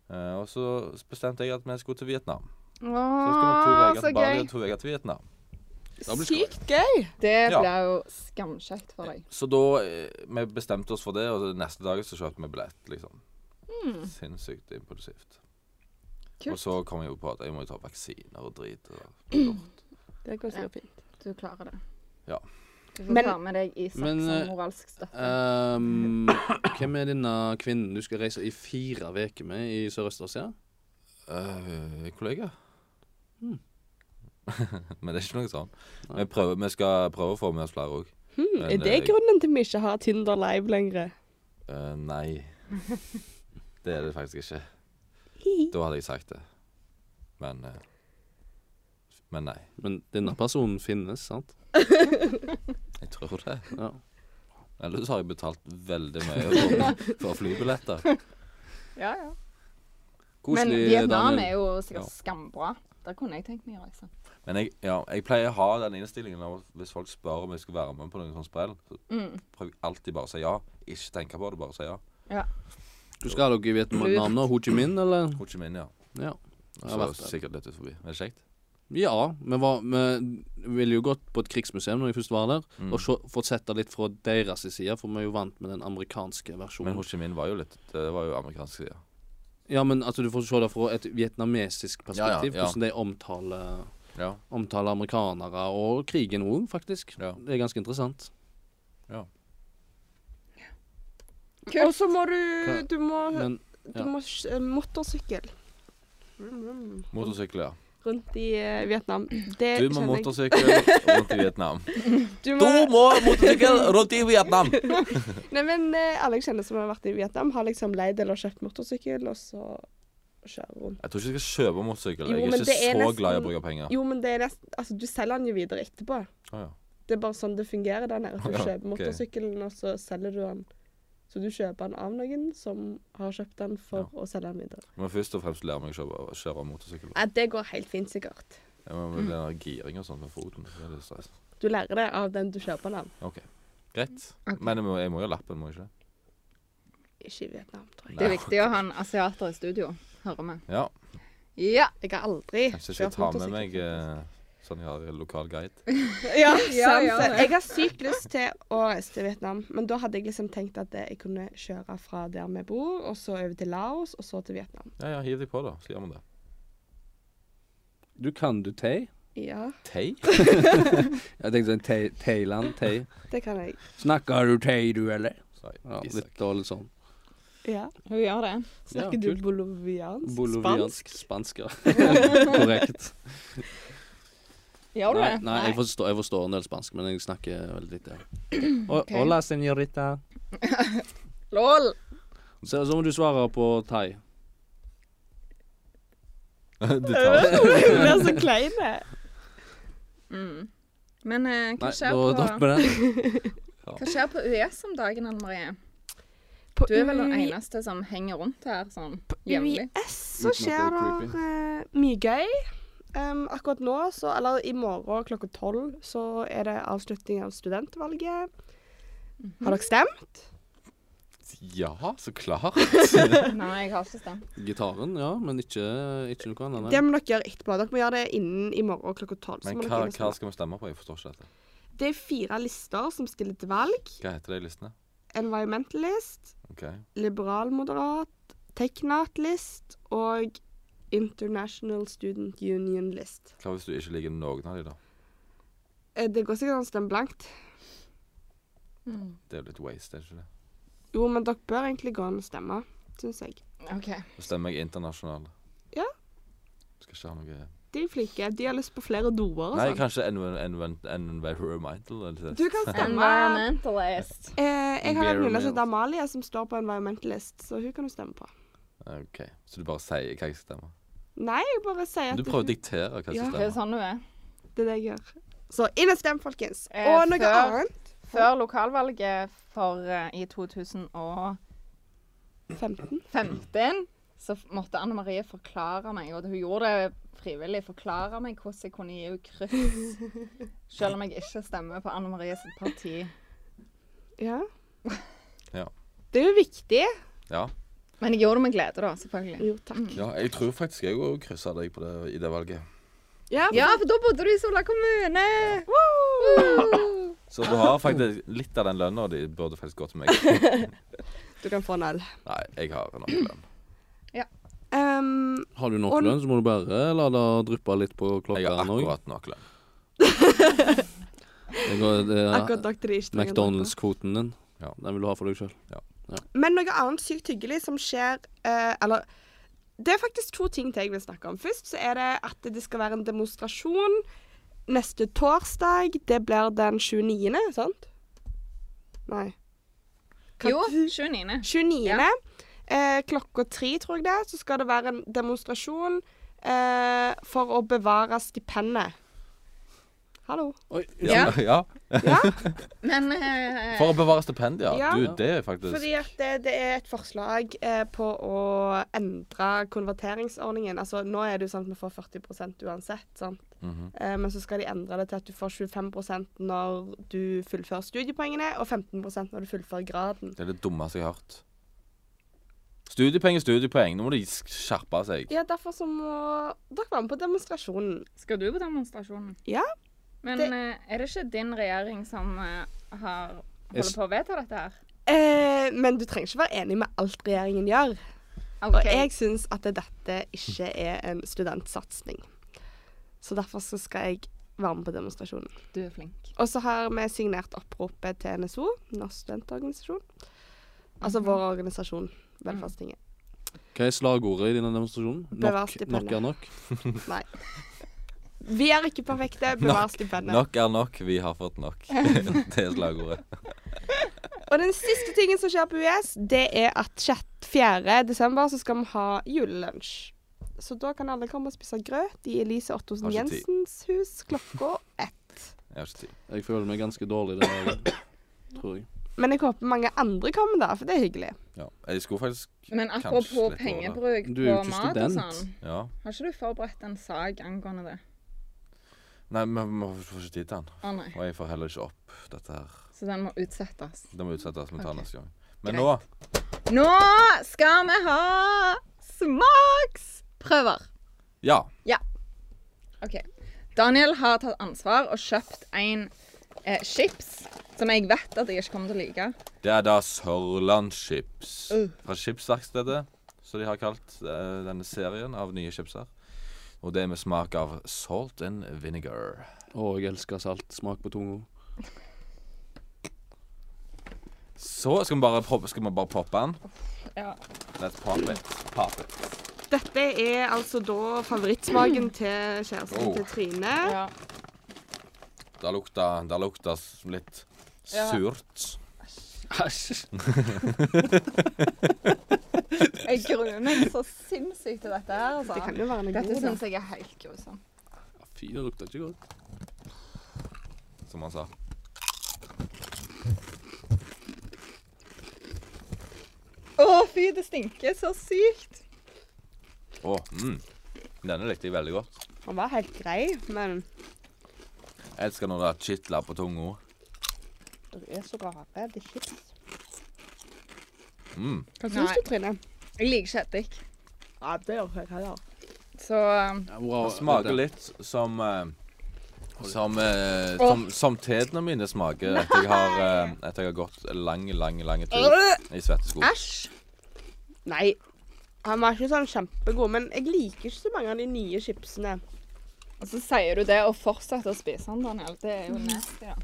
Eh, Og så bestemte jeg at vi skulle til Vietnam Så skulle vi to
Åh,
veker
så
til Bali
gøy.
og to veker til Vietnam
Da blir det
Sykt gøy.
Det
Ja.
blir jo skamkjekt for deg.
Så da eh, Vi bestemte oss for det, og neste dag så kjøpte vi billett, liksom.
Mm.
Sinnssykt impulsivt. Og
Kult.
så kom jeg jo på at jeg må jo ta vaksiner og drit. Og lort.
Det går sikkert fint.
Du klarer det.
Ja.
Du får
Men-
ta med deg Isak
Men, eh,
som moralsk støtte.
Ehm, hvem er denne kvinnen du skal reise i fire uker med i Sørøst-Asia?
Eh, kollega?
Mm.
Men det er ikke noe sånn.
Nei.
Vi, prøver, vi skal prøve å få med oss flere òg.
Hmm,
Men,
er det
eh,
grunnen til vi ikke har Tinder live lenger?
nei. Det er det faktisk ikke. Da hadde jeg sagt det. Men eh, Men nei.
Men denne personen finnes, sant?
Jeg tror det.
Ja.
Ellers har jeg betalt veldig mye for, for flybilletter.
Ja, ja. Men
Koselig,
Vietnam
Daniel.
er jo sikkert
Ja.
skambra. Der kunne jeg tenkt meg å reise.
Men jeg, ja, jeg pleier å ha den innstillingen av at hvis folk spør om jeg skal være med på noen sånn sprell, så
Mm.
prøver jeg alltid bare å si ja. Ikke tenke på det, bare si ja.
Du skal dere i Vietnam nå? Ho Chi Minh, eller?
Ho Chi Minh, ja.
Ja. Jeg har
Så
vært der.
sikkert litt ut forbi. Er det kjekt?
Ja, vi, var, vi ville jo gått på et krigsmuseum når vi først var der,
Mm.
og så, fått sett det litt fra deres side, for vi er jo vant med den amerikanske
Men
versjonen.
Ho Chi Minh var jo litt Det var jo amerikansk side.
ja, men altså, du får se det fra et vietnamesisk perspektiv,
ja.
hvordan de omtaler,
Ja.
omtaler amerikanere og krigen òg, faktisk.
Ja.
Det er ganske interessant.
Kult.
Og så må du
Hva-
Du må,
Men
du
ja.
må sj- eh, motorsykkel. Vroom, vroom.
Motorsykkel, ja.
Rundt i eh, Vietnam. Det
Du må
kjenner jeg-
motorsykkel rundt i Vietnam.
Du
Du
må,
må motorsykkel rundt i Vietnam!
nei, men eh, alle jeg kjenner som har vært i Vietnam, har liksom leid eller kjøpt motorsykkel, og så kjører rundt.
Jeg tror ikke jeg skal kjøpe motorsykkel.
Jo,
Jeg
men
er
det
ikke
er
så
nesten-
glad i å bruke penger.
Jo, men det er nesten Altså, du selger den jo videre etterpå.
Å, ja.
Det er bare sånn det fungerer der nede. at Du
Ja, ok.
kjøper motorsykkelen, og så selger du den. Så du kjøper den av noen som har kjøpt den for å selge den videre.
Men først og fremst lære meg å kjøre- å kjøre motorsykkel.
Nei, det går helt fint, sikkert.
Jeg må bli den giring og sånn med foten. Det er litt stress.
Du lærer det av den du kjøper den av.
OK. Greit. Men jeg må, jeg må jo ha lappen, må jeg ikke det?
Ikke i Vietnam, tror jeg.
Det er viktig å ha en asiater i studio, hører vi.
Ja.
Ja.
Jeg har aldri
Kanskje jeg skal
kjørt
ta med meg
motorsykkel,
eh, sånn jeg har lokal guide.
Ja,
Ja,
sant.
ja, det.
jeg har sykt lyst til å reise til Vietnam, men da hadde jeg liksom tenkt at jeg kunne kjøre fra der vi bor, og så over til Laos, og så til Vietnam.
Ja, ja, hiv deg på, da. Så gjør vi det.
Du kan du tei?
Ja,
Tei?
Jeg tenkte sånn tei, Thailand, tei.
det kan jeg.
Snakker du tei, du, eller?
Sa jeg.
Ja,
Isak.
litt dårlig sånn.
Ja.
Hun gjør det.
Snakker
Ja,
du
kult.
boliviansk?
Boliviansk
Spansk?
spansk, ja. Korrekt.
Gjør du
Nei,
det?
nei jeg, forstår, jeg forstår en del spansk, men jeg snakker veldig lite.
Ok. hola,
señorita.
Lol.
Så, så må du svare på thai.
Du tar det.
Vi blir så eh. kleine.
Mm. Men eh, hva,
Nei,
skjer
da dropper
på,
vi den.
hva skjer på UiS om dagen, Anne Marie?
På
Du er vel den
UI
eneste som henger rundt her sånn jevnlig.
UiS så
Uten at
skjer
det er
det mye gøy. Em, akkurat nå, så, eller i morgen klokka tolv, så er det avslutning av studentvalget. Har dere stemt?
Ja, så klart.
Nei, jeg har ikke stemt.
Gitaren, ja, men ikke, ikke noe annet.
Det
Nei.
må dere gjøre etterpå. Dere må gjøre det innen i morgen klokka tolv. så
Men
må dere
hva,
inn og
hva
stemme.
skal vi stemme på? Jeg forstår ikke dette.
Det er fire lister som stiller til valg.
Hva heter de listene?
Environmentalist,
Ok.
liberalmoderat, teknatlist og International Student Union List.
Hva hvis du ikke liker noen av de da?
Eh, Det går sikkert an å stemme blankt.
Det er jo litt waste, er det ikke det?
Jo, men dere bør egentlig gå an å stemme, syns jeg.
OK.
Da stemmer jeg internasjonal.
Ja.
Skal ikke ha noe
De er flinke. De har lyst på flere doer og
Nei,
sånn.
kanskje environmental? eller
Du kan stemme.
Environmentalist.
Eh, jeg har en venninne
Environment.
som heter Amalie, som står på environmentalist, så hun kan du stemme på.
OK. Så du bare sier hva jeg skal stemme?
Nei, jeg bare sier at
Du prøver å diktere hva jeg
Ja.
skal
Det er
stemme?
sånn du er.
Det er det jeg gjør. Så inn og stem, folkens.
Eh,
og noe
før-
annet.
Før lokalvalget for eh, i 2015
15.
så f- måtte Anne Marie forklare meg, og hun gjorde det frivillig, forklare meg hvordan jeg kunne gi henne kryss, selv om jeg ikke stemmer på Anne Marie sitt parti.
Ja.
Ja.
Det er jo viktig.
Ja.
Men jeg gjorde det med glede, da, selvfølgelig.
Jo, takk.
ja. Jeg tror faktisk jeg òg kryssa deg på det, i det valget.
Ja.
Ja, for da bodde du i Sola kommune! Woo!
Så du har faktisk litt av den lønna di burde faktisk gå til meg.
Du kan få en øl.
Nei, jeg har en annen lønn.
Ehm,
Har du nok
Og-
lønn, så må du bare la det dryppe litt på
Jeg har
klokka nå.
akkurat nok lønn.
Det går- det er
akkurat nok til de ikke trenger å drikke.
McDonald's-kvoten din.
Ja.
Den vil du ha for deg sjøl.
Men noe annet sykt hyggelig som skjer eh, Eller det er faktisk to ting til jeg vil snakke om. Først så er det at det skal være en demonstrasjon neste torsdag. Det blir den 29., sant? Nei. Hva-
Jo, 29.
29.
Ja.
Eh, klokka tre, tror jeg det, så skal det være en demonstrasjon eh, for å bevare stipendet. Hallo.
Oi,
Ja.
ja.
Ja,
Men eh,
For å bevare stipendier.
Ja.
Du, det er faktisk
fordi at det, det er et forslag eh, på å endre konverteringsordningen. Altså, nå er det jo sånn at vi får 40 uansett, sant?
Mhm.
eh, men så skal de endre det til at du får 25 når du fullfører studiepoengene, og 15 når du fullfører graden.
Det er det dummeste jeg har hørt. Studiepoeng er studiepoeng. Nå må de sk- skjerpe seg.
Ja, derfor så må dere være med på demonstrasjonen.
skal du på demonstrasjonen?
Ja.
Men
Det-
eh, er det ikke din regjering som eh, har
Jeg
holder
s-
på å vedta dette her?
Eh, men du trenger ikke være enig med alt regjeringen gjør. Og
Ok.
jeg syns at dette ikke er en studentsatsing. Så derfor så skal jeg være med på demonstrasjonen.
Du er flink.
Og så har vi signert oppropet til NSO, Norsk studentorganisasjon. Altså
Mhm.
vår organisasjon, Velferdstinget.
Hva er slagordet i denne demonstrasjonen?
Bevar
Nok,
stipendet.
nok er nok.
Nei. Vi er ikke perfekte, bevar stipendet.
Nok er nok. Vi har fått nok. det er slagordet.
Og den siste tingen som skjer på US, det er at 6. 4. desember så skal vi ha julelunsj. Så da kan alle komme og spise grøt i Elise Ottosen
Har ikke tid.
Jensens hus klokka ett.
Jeg har ikke tid.
Jeg føler meg ganske dårlig den dagen, tror jeg.
Men jeg håper mange andre kommer da, for det er hyggelig.
Ja. Jeg skulle faktisk
Men
kanskje
apropos
litt over det.
pengebruk
Du er jo
på
ikke
mat og
student.
sånn,
Ja.
har ikke du forberedt en sak angående det?
Nei, men vi får ikke tid til den.
Å nei,
Og jeg får heller ikke opp dette her.
så den må utsettes.
Det må utsettes. Vi tar
Ok.
neste gang. Men
Greit.
nå
Nå skal vi ha smaksprøver.
Ja.
OK. Daniel har tatt ansvar og kjøpt en eh, chips som jeg vet at jeg ikke kommer til å like.
Det er da Sørlandschips.
Uh.
Fra Skipsverkstedet, som de har kalt eh, denne serien av nye chips her. Og det er med smak av salt and vinegar.
Å, jeg elsker salt. Smak på tunga.
Så skal vi bare, proppe- skal vi bare poppe den.
Ja.
Let's pop it. Pop it.
Dette er altså da favorittsmaken til kjæresten
Oh.
til Trine.
ja.
Det lukta, det lukta s- litt
Ja.
surt.
Æsj.
Jeg gruer meg så sinnssykt til dette her.
Det
Altså.
kan jo være noe
Dette
god, da.
syns jeg er helt grusomt.
Fy, det lukter ikke godt.
som han sa.
Å, fy, det stinker så sykt.
Å, mm. Denne likte jeg veldig godt.
Den var helt grei, men
Jeg elsker når det kitler på tunga.
dere er så rare. Det er chips.
Mm.
Hva
Nei.
syns du, Trine?
Jeg liker ikke eddik.
Ja, det gjør jeg heller.
Så um,
Ja, wow,
Det smaker
det-
litt som eh, som, eh,
Åh.
som, som tedene mine smaker etter jeg har, eh, etter jeg har gått en lang, lang, lang tur
øh,
i svettesko.
Æsj.
Nei. Han var ikke sånn kjempegod, men jeg liker ikke så mange av de nye chipsene.
Og så sier du det og fortsetter å spise den, Sånn, Daniel. Det er jo nasty, da.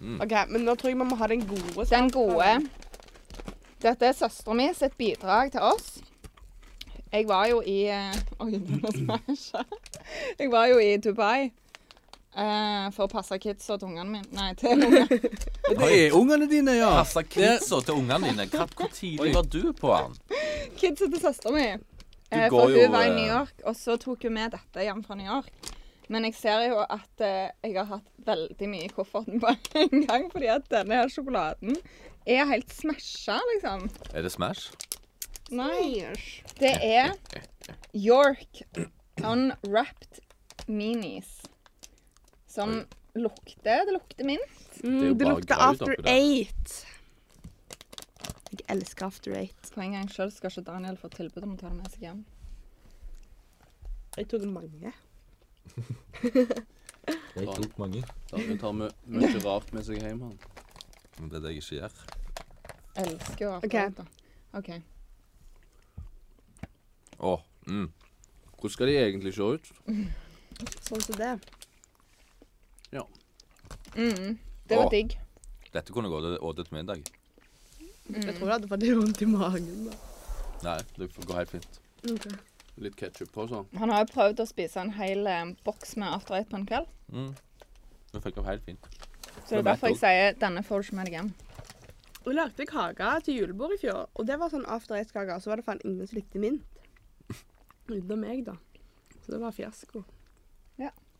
Mm.
OK, men nå tror jeg vi må ha den gode.
Den
smaken.
gode. Dette er søstera mi sitt bidrag til oss. Jeg var jo i eh, Oi, nå smasja Jeg var jo i Dubai eh, for å passe kidsa til ungene mine. Nei, til ungene.
Det er ungene dine, ja.
Passa kidsa til ungene dine. Hva- Hvor tidlig var du på den?
Kidsa til søstera mi.
Du går
Eh, for
jo,
hun var i
eh,
New York, og så tok hun med dette hjem fra New York. Men jeg ser jo at eh, jeg har hatt veldig mye i kofferten på en gang, fordi at denne her sjokoladen er helt smasha, liksom.
Er det Smash?
Nei.
Eish.
Det er York Unwrapped Minis. Som
Oi.
lukter Det lukter mint.
er jo
Mm, det
bare
lukter
graut
After
oppi der.
Eight. Jeg elsker After Eight.
For en gang sjøl skal ikke Daniel få tilbud om å ta det med seg hjem.
Jeg tok mange.
Jeg tok
mange.
Han tar mø- mye rart med seg hjem, han.
Mm, Det er det jeg ikke gjør.
Elsker jo
Ok.
akkurat da. OK.
Å, mm.
Hvordan skal de egentlig se ut?
Sånn som det.
Mm. Det var
Åh.
digg.
Dette kunne gått og spist til middag.
Mm.
Jeg tror det hadde fått litt vondt i magen. da.
Nei, det får gå helt fint.
Litt ketsjup på, sånn.
Han har jo prøvd å spise en hel eh, boks med After Eight på en kveld.
Mm. Det fikk opp helt fint.
Så det er
Men
derfor jeg sier denne får du ikke med deg hjem.
Hun lagde kake til julebord i fjor, og det var sånn After Eight-kake. og Så var det faen ingen som likte mint. Utenom meg, da. Så det var fiasko.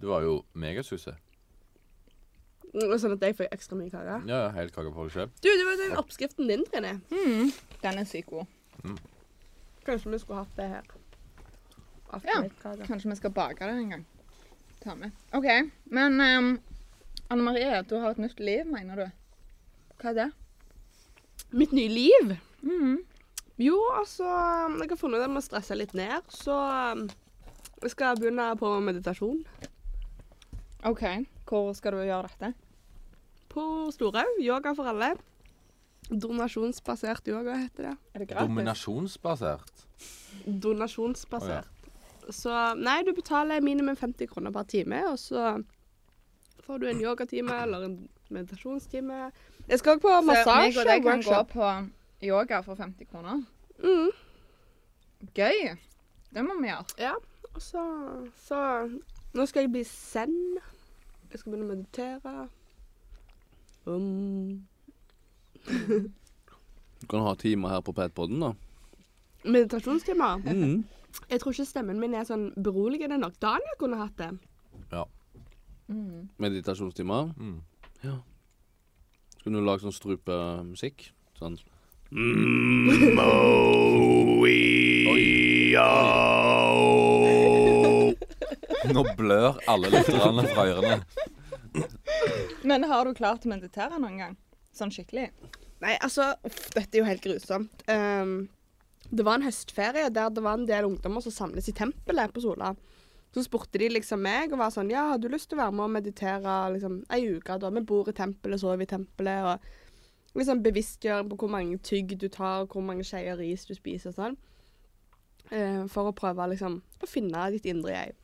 Du var jo megasuset.
Mm, Sånn at jeg fikk ekstra mye kake.
Ja, ja, helt kake på deg sjøl.
Du, det var den oppskriften din, Trine.
Den er sykt god.
Kanskje vi skulle hatt det her.
Ja.
After Eight-kake.
Kanskje vi skal bake det en gang. Ta med. OK. Men ehm, Anne Marie, du har et nytt liv, mener du? Hva er det?
Mitt nye liv.
Mhm.
Jo, altså Jeg har funnet ut at jeg må stresse litt ned, så um, jeg skal begynne på meditasjon
OK. Hvor skal du gjøre dette?
på Storhaug. Yoga for alle. Donasjonsbasert yoga heter det.
Er det gratis?
Dominasjonsbasert.
Donasjonsbasert. Så nei, du betaler minimum 50 kroner per time, og så får du en yogatime eller en meditasjonstime. Jeg skal òg på
Så meg og deg kan gå
massasjeworkshop.
på yoga for 50 kroner.
Mm,
Gøy. Det må vi gjøre.
og så, så Nå skal jeg bli zen. Jeg skal begynne å meditere. Um,
Du kan ha timer her på Petpodden, da.
Meditasjonstimer?
Mm.
Jeg tror ikke stemmen min er sånn beroligende nok. Daniel kunne hatt det.
Meditasjonstimer.
Mm.
Ja. Skulle du lage sånn strupemusikk? Sånn.
Nå blør alle lytterne fra ørene.
Men har du klart å meditere noen gang? Sånn skikkelig?
Nei, altså, uff, dette er jo helt grusomt. Ehm, det var en høstferie der det var en del ungdommer som samles i tempelet på Sola. Så spurte de liksom meg og var sånn Ja, har du lyst til å være med og meditere liksom, ei uke? da? Vi bor i tempelet, sover i tempelet. og liksom Bevisstgjøring på hvor mange tygg du tar, og hvor mange skeier ris du spiser og sånn. Eh, for å prøve liksom, å finne ditt indre jeg.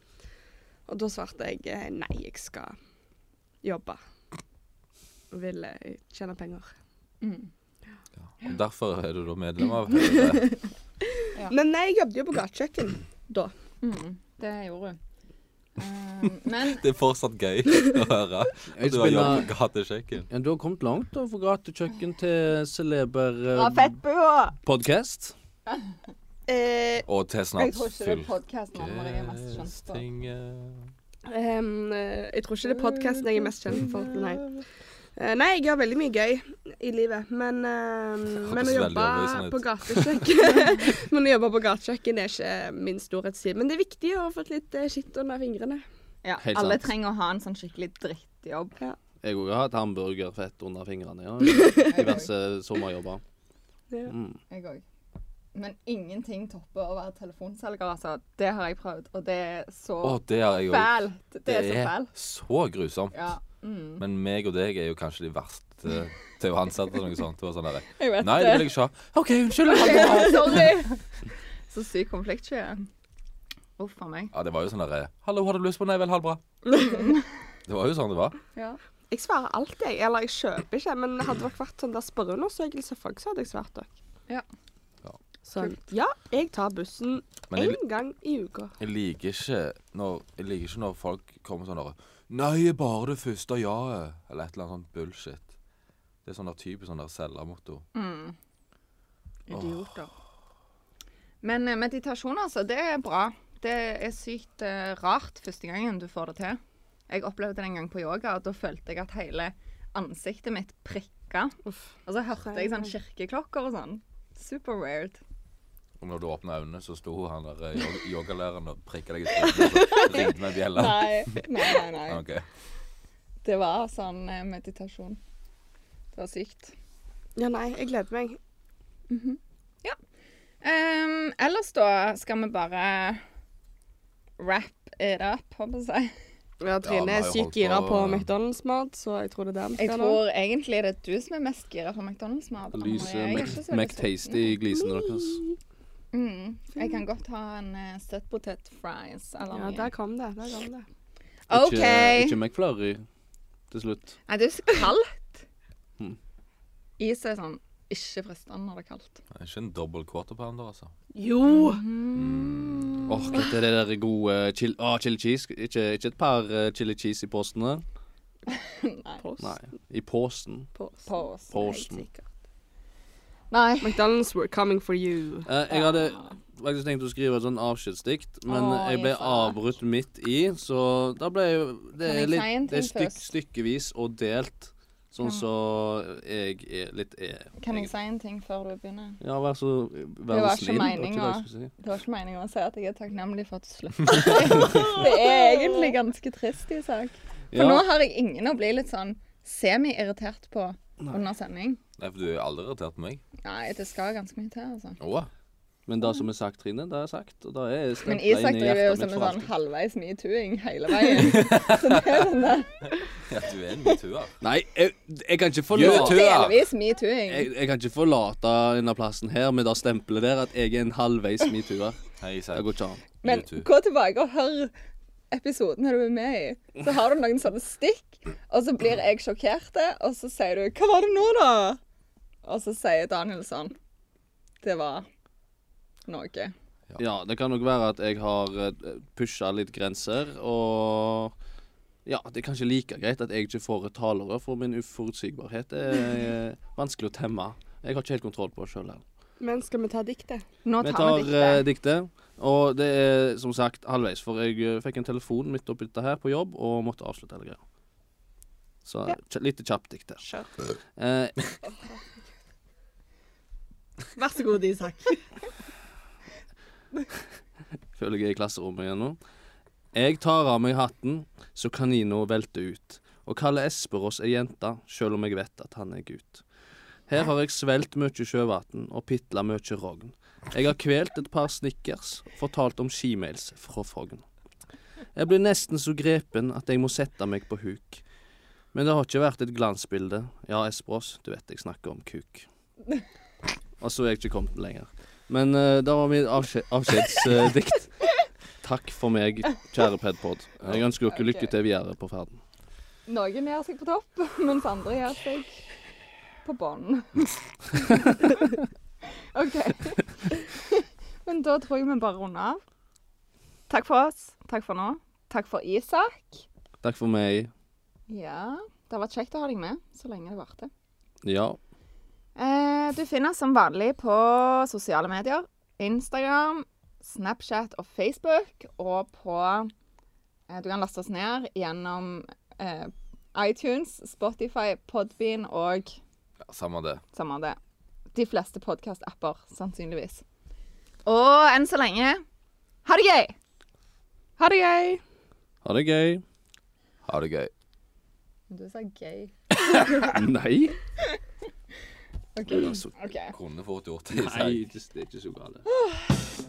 Og da svarte jeg eh, nei, jeg skal jobbe. Og vil eh, tjene penger.
Mm.
Og Derfor er du da medlem av Høyre.
Ja.
Men nei, jeg jobbet jo på gatekjøkken da.
Mm. Det gjorde hun. Eh, Um, men
Det er fortsatt gøy å høre.
Jeg
Du har jobbet
spinner-
på gatekjøkken.
ja, du har kommet langt da, fra gatekjøkken til celeber
Fra
eh,
fettbua!
podcast.
Eh,
Og til
jeg
snart
tror ikke det er podkasten Anne-Marie er mest kjent for.
fylkestinget
ehm, eh, jeg tror ikke det er podkasten jeg er mest kjent for. Nei. Eh, nei, jeg gjør veldig mye gøy i livet, men, ehm, men å
Hørtes veldig
jobbe
overbevisende ut.
på gatekjøkken Men å jobbe på gatekjøkken er ikke min storhetstid. Men det er viktig å få litt eh, skitt under fingrene.
Ja,
Helt
alle
sant.
trenger å ha en sånn skikkelig drittjobb.
Jeg også har hatt hamburgerfett under fingrene. Ja. Diverse sommerjobber.
Ja.
Mm.
Jeg òg. Men ingenting topper å være telefonselger, altså. Det har jeg prøvd, og det er så
Å, det har jeg òg.
fælt. Det er så fælt.
så grusomt.
Ja. Mm.
Men meg og deg er jo kanskje de verste til å ansette eller noe sånt. Det var sånn der,
Jeg vet
Nei, det vil jeg ikke ha. OK, unnskyld. jeg hadde-
Sorry. Så syk konfliktsky jeg er. Uff a meg.
Ja, det var jo sånn derre Hallo, har du lyst på Nei vel, ha det bra. Det var jo sånn det var.
Ja.
Jeg svarer alltid. jeg. Eller jeg kjøper ikke, men hadde dere vært sånn der spørreundersøkelse folk, så hadde jeg svart dere.
Så
Ja, jeg tar bussen
Men jeg,
én gang i uka.
jeg liker ikke når Jeg liker ikke når folk kommer sånn derre Nei, bare det første jaet. Eller et eller annet sånt bullshit. Det er sånn der typisk sånn der selgermotto.
mm. Idioter. Men eh, meditasjon, altså, det er bra. Det er sykt eh, rart første gangen du får det til. Jeg opplevde det en gang på yoga, og da følte jeg at hele ansiktet mitt prikka. Og så hørte jeg sånn kirkeklokker og sånn. Super weird.
Og når du åpna øynene, så sto han der eh, yog- yogalæreren og prikka deg i trynet. og så Ringte med bjella.
Nei, nei, nei. nei.
Ok.
Det var sånn eh, meditasjon. Det var sykt.
Ja, nei, jeg gleder meg.
Ehm, ellers da skal vi bare wrap it up, håper jeg. å si.
Ja,
vi har
Trine er
jo holdt
sykt gira
på-
på McDonald's-mat, så jeg tror det er der vi
Jeg
skal nå.
tror egentlig det er du som er mest gira på McDonald's-mat.
Lyse
Jeg er ikke
Mac-
så veldig
McTasty i glisene deres.
sulten. Mm. Jeg kan godt ha en uh, søt potet fries. Eller
Ja,
noe.
der kom det. Der kom det.
OK.
Ikke, ikke McFlurry til slutt.
Nei, det er jo så kaldt.
Mm.
Is er sånn ikke fristende når det er kaldt.
Altså,
Det er Ikke en dobbel quarter pounder, altså.
Jo!
Åh, hva heter det der gode chili, Åh, chili cheese? Ikke, ikke et par eh, chili cheese i postene?
Nei.
Post.
Nei, i posen.
Post.
Pause.
Posen.
Nei.
McDonald's, we're coming for you.
Eh, jeg hadde faktisk tenkt å skrive et sånn avskjedsdikt, men
Åh,
jeg ble
jeg sa det.
avbrutt midt i, så da ble jeg
Kan
Det er,
jeg si en
litt, det er
ting
stykk, stykkevis og delt, sånn
Kan-
så jeg er litt er.
Kan jeg si en ting før du begynner?
Ja, vær så
Det
vær
var
så
ikke
snill.
meningen,
det
da.
jeg skulle si.
Det var ikke meningen å si at jeg er takknemlig for at du sluttet. Det er egentlig ganske trist i sak. For
Ja,
nå har jeg ingen å bli litt sånn semi-irritert på under sending.
Nei, for du er aldri irritert på meg.
Nei, det skal ganske mye til, altså.
Åh.
men det som er sagt, Trine, det er sagt. Og det er
Men
stemplet
Isak
inn i
driver jo
hjertet
som
mitt
en
for
sånn
alltid.
halvveis metooing hele veien. Så det er sånn der
Ja, du er en metooer.
Nei, jeg, jeg kan ikke
Gjør
forlate
det. Metoo-er.
delvis metooing.
jeg, jeg kan ikke forlate denne plassen her med det stempelet der at jeg er en halvveis metoo-er.
Hei, Isak.
Det går ikke an.
Men
metoo.
gå tilbake og hør episodene du er med i. Så har du noen sånne stikk, og så blir jeg sjokkert, og så sier du 'Hva var det nå, da?' Og så sier Daniel sånn Det var noe.
Ja, det kan nok være at jeg har pusha litt grenser, og ja, det er kanskje like greit at jeg ikke får et talerør, for min uforutsigbarhet er eh, vanskelig å temme. Jeg har ikke helt kontroll på det sjøl.
Men skal vi ta diktet?
Nå tar vi
Vi tar eh,
diktet.
diktet, og det er som sagt halvveis, for jeg eh, fikk en telefon midt oppi dette her på jobb, og måtte avslutte hele greia. Så
Ja.
kj- litt kjapt dikt der.
Kjør.
Eh,
Vær så god, Isak.
Føler jeg er i klasserommet igjen nå. Jeg tar av meg hatten, så kanina velter ut. Og kaller Esperås ei jente, sjøl om jeg vet at han er gutt. Her har jeg svelt mye sjøvann og pitla mye rogn. Jeg har kvelt et par snickers og fortalt om skimails fra Frogn. Jeg blir nesten så grepen at jeg må sette meg på huk. Men det har ikke vært et glansbilde. Ja, Esperås, du vet jeg snakker om kuk. Og så er jeg ikke kommet lenger. Men eh, da var mitt avskje- avskjedsdikt. Takk for meg, kjære Pedpod. Jeg ønsker dere lykke til videre på ferden.
Noen gjør seg på topp, mens andre gjør seg på bånn. OK. Men da tror jeg vi bare runder av. Takk for oss. Takk for nå. Takk for Isak.
Takk for meg.
Ja. Det har vært kjekt å ha deg med så lenge det varte.
Ja.
Eh, du finner oss som vanlig på sosiale medier. Instagram, Snapchat og Facebook. Og på eh, Du kan laste oss ned gjennom eh, iTunes, Spotify, Podbean og
Ja, Samme det.
samme det. De fleste podkast-apper, sannsynligvis. Og enn så lenge ha det gøy!
Ha det gøy!
Ha det gøy.
Ha det gøy.
Du sa gøy.
Nei. Altså,
OK.
Det var så-
okay.
Kunne fort gjort det. Isak.
Nei, det det er ikke så galt.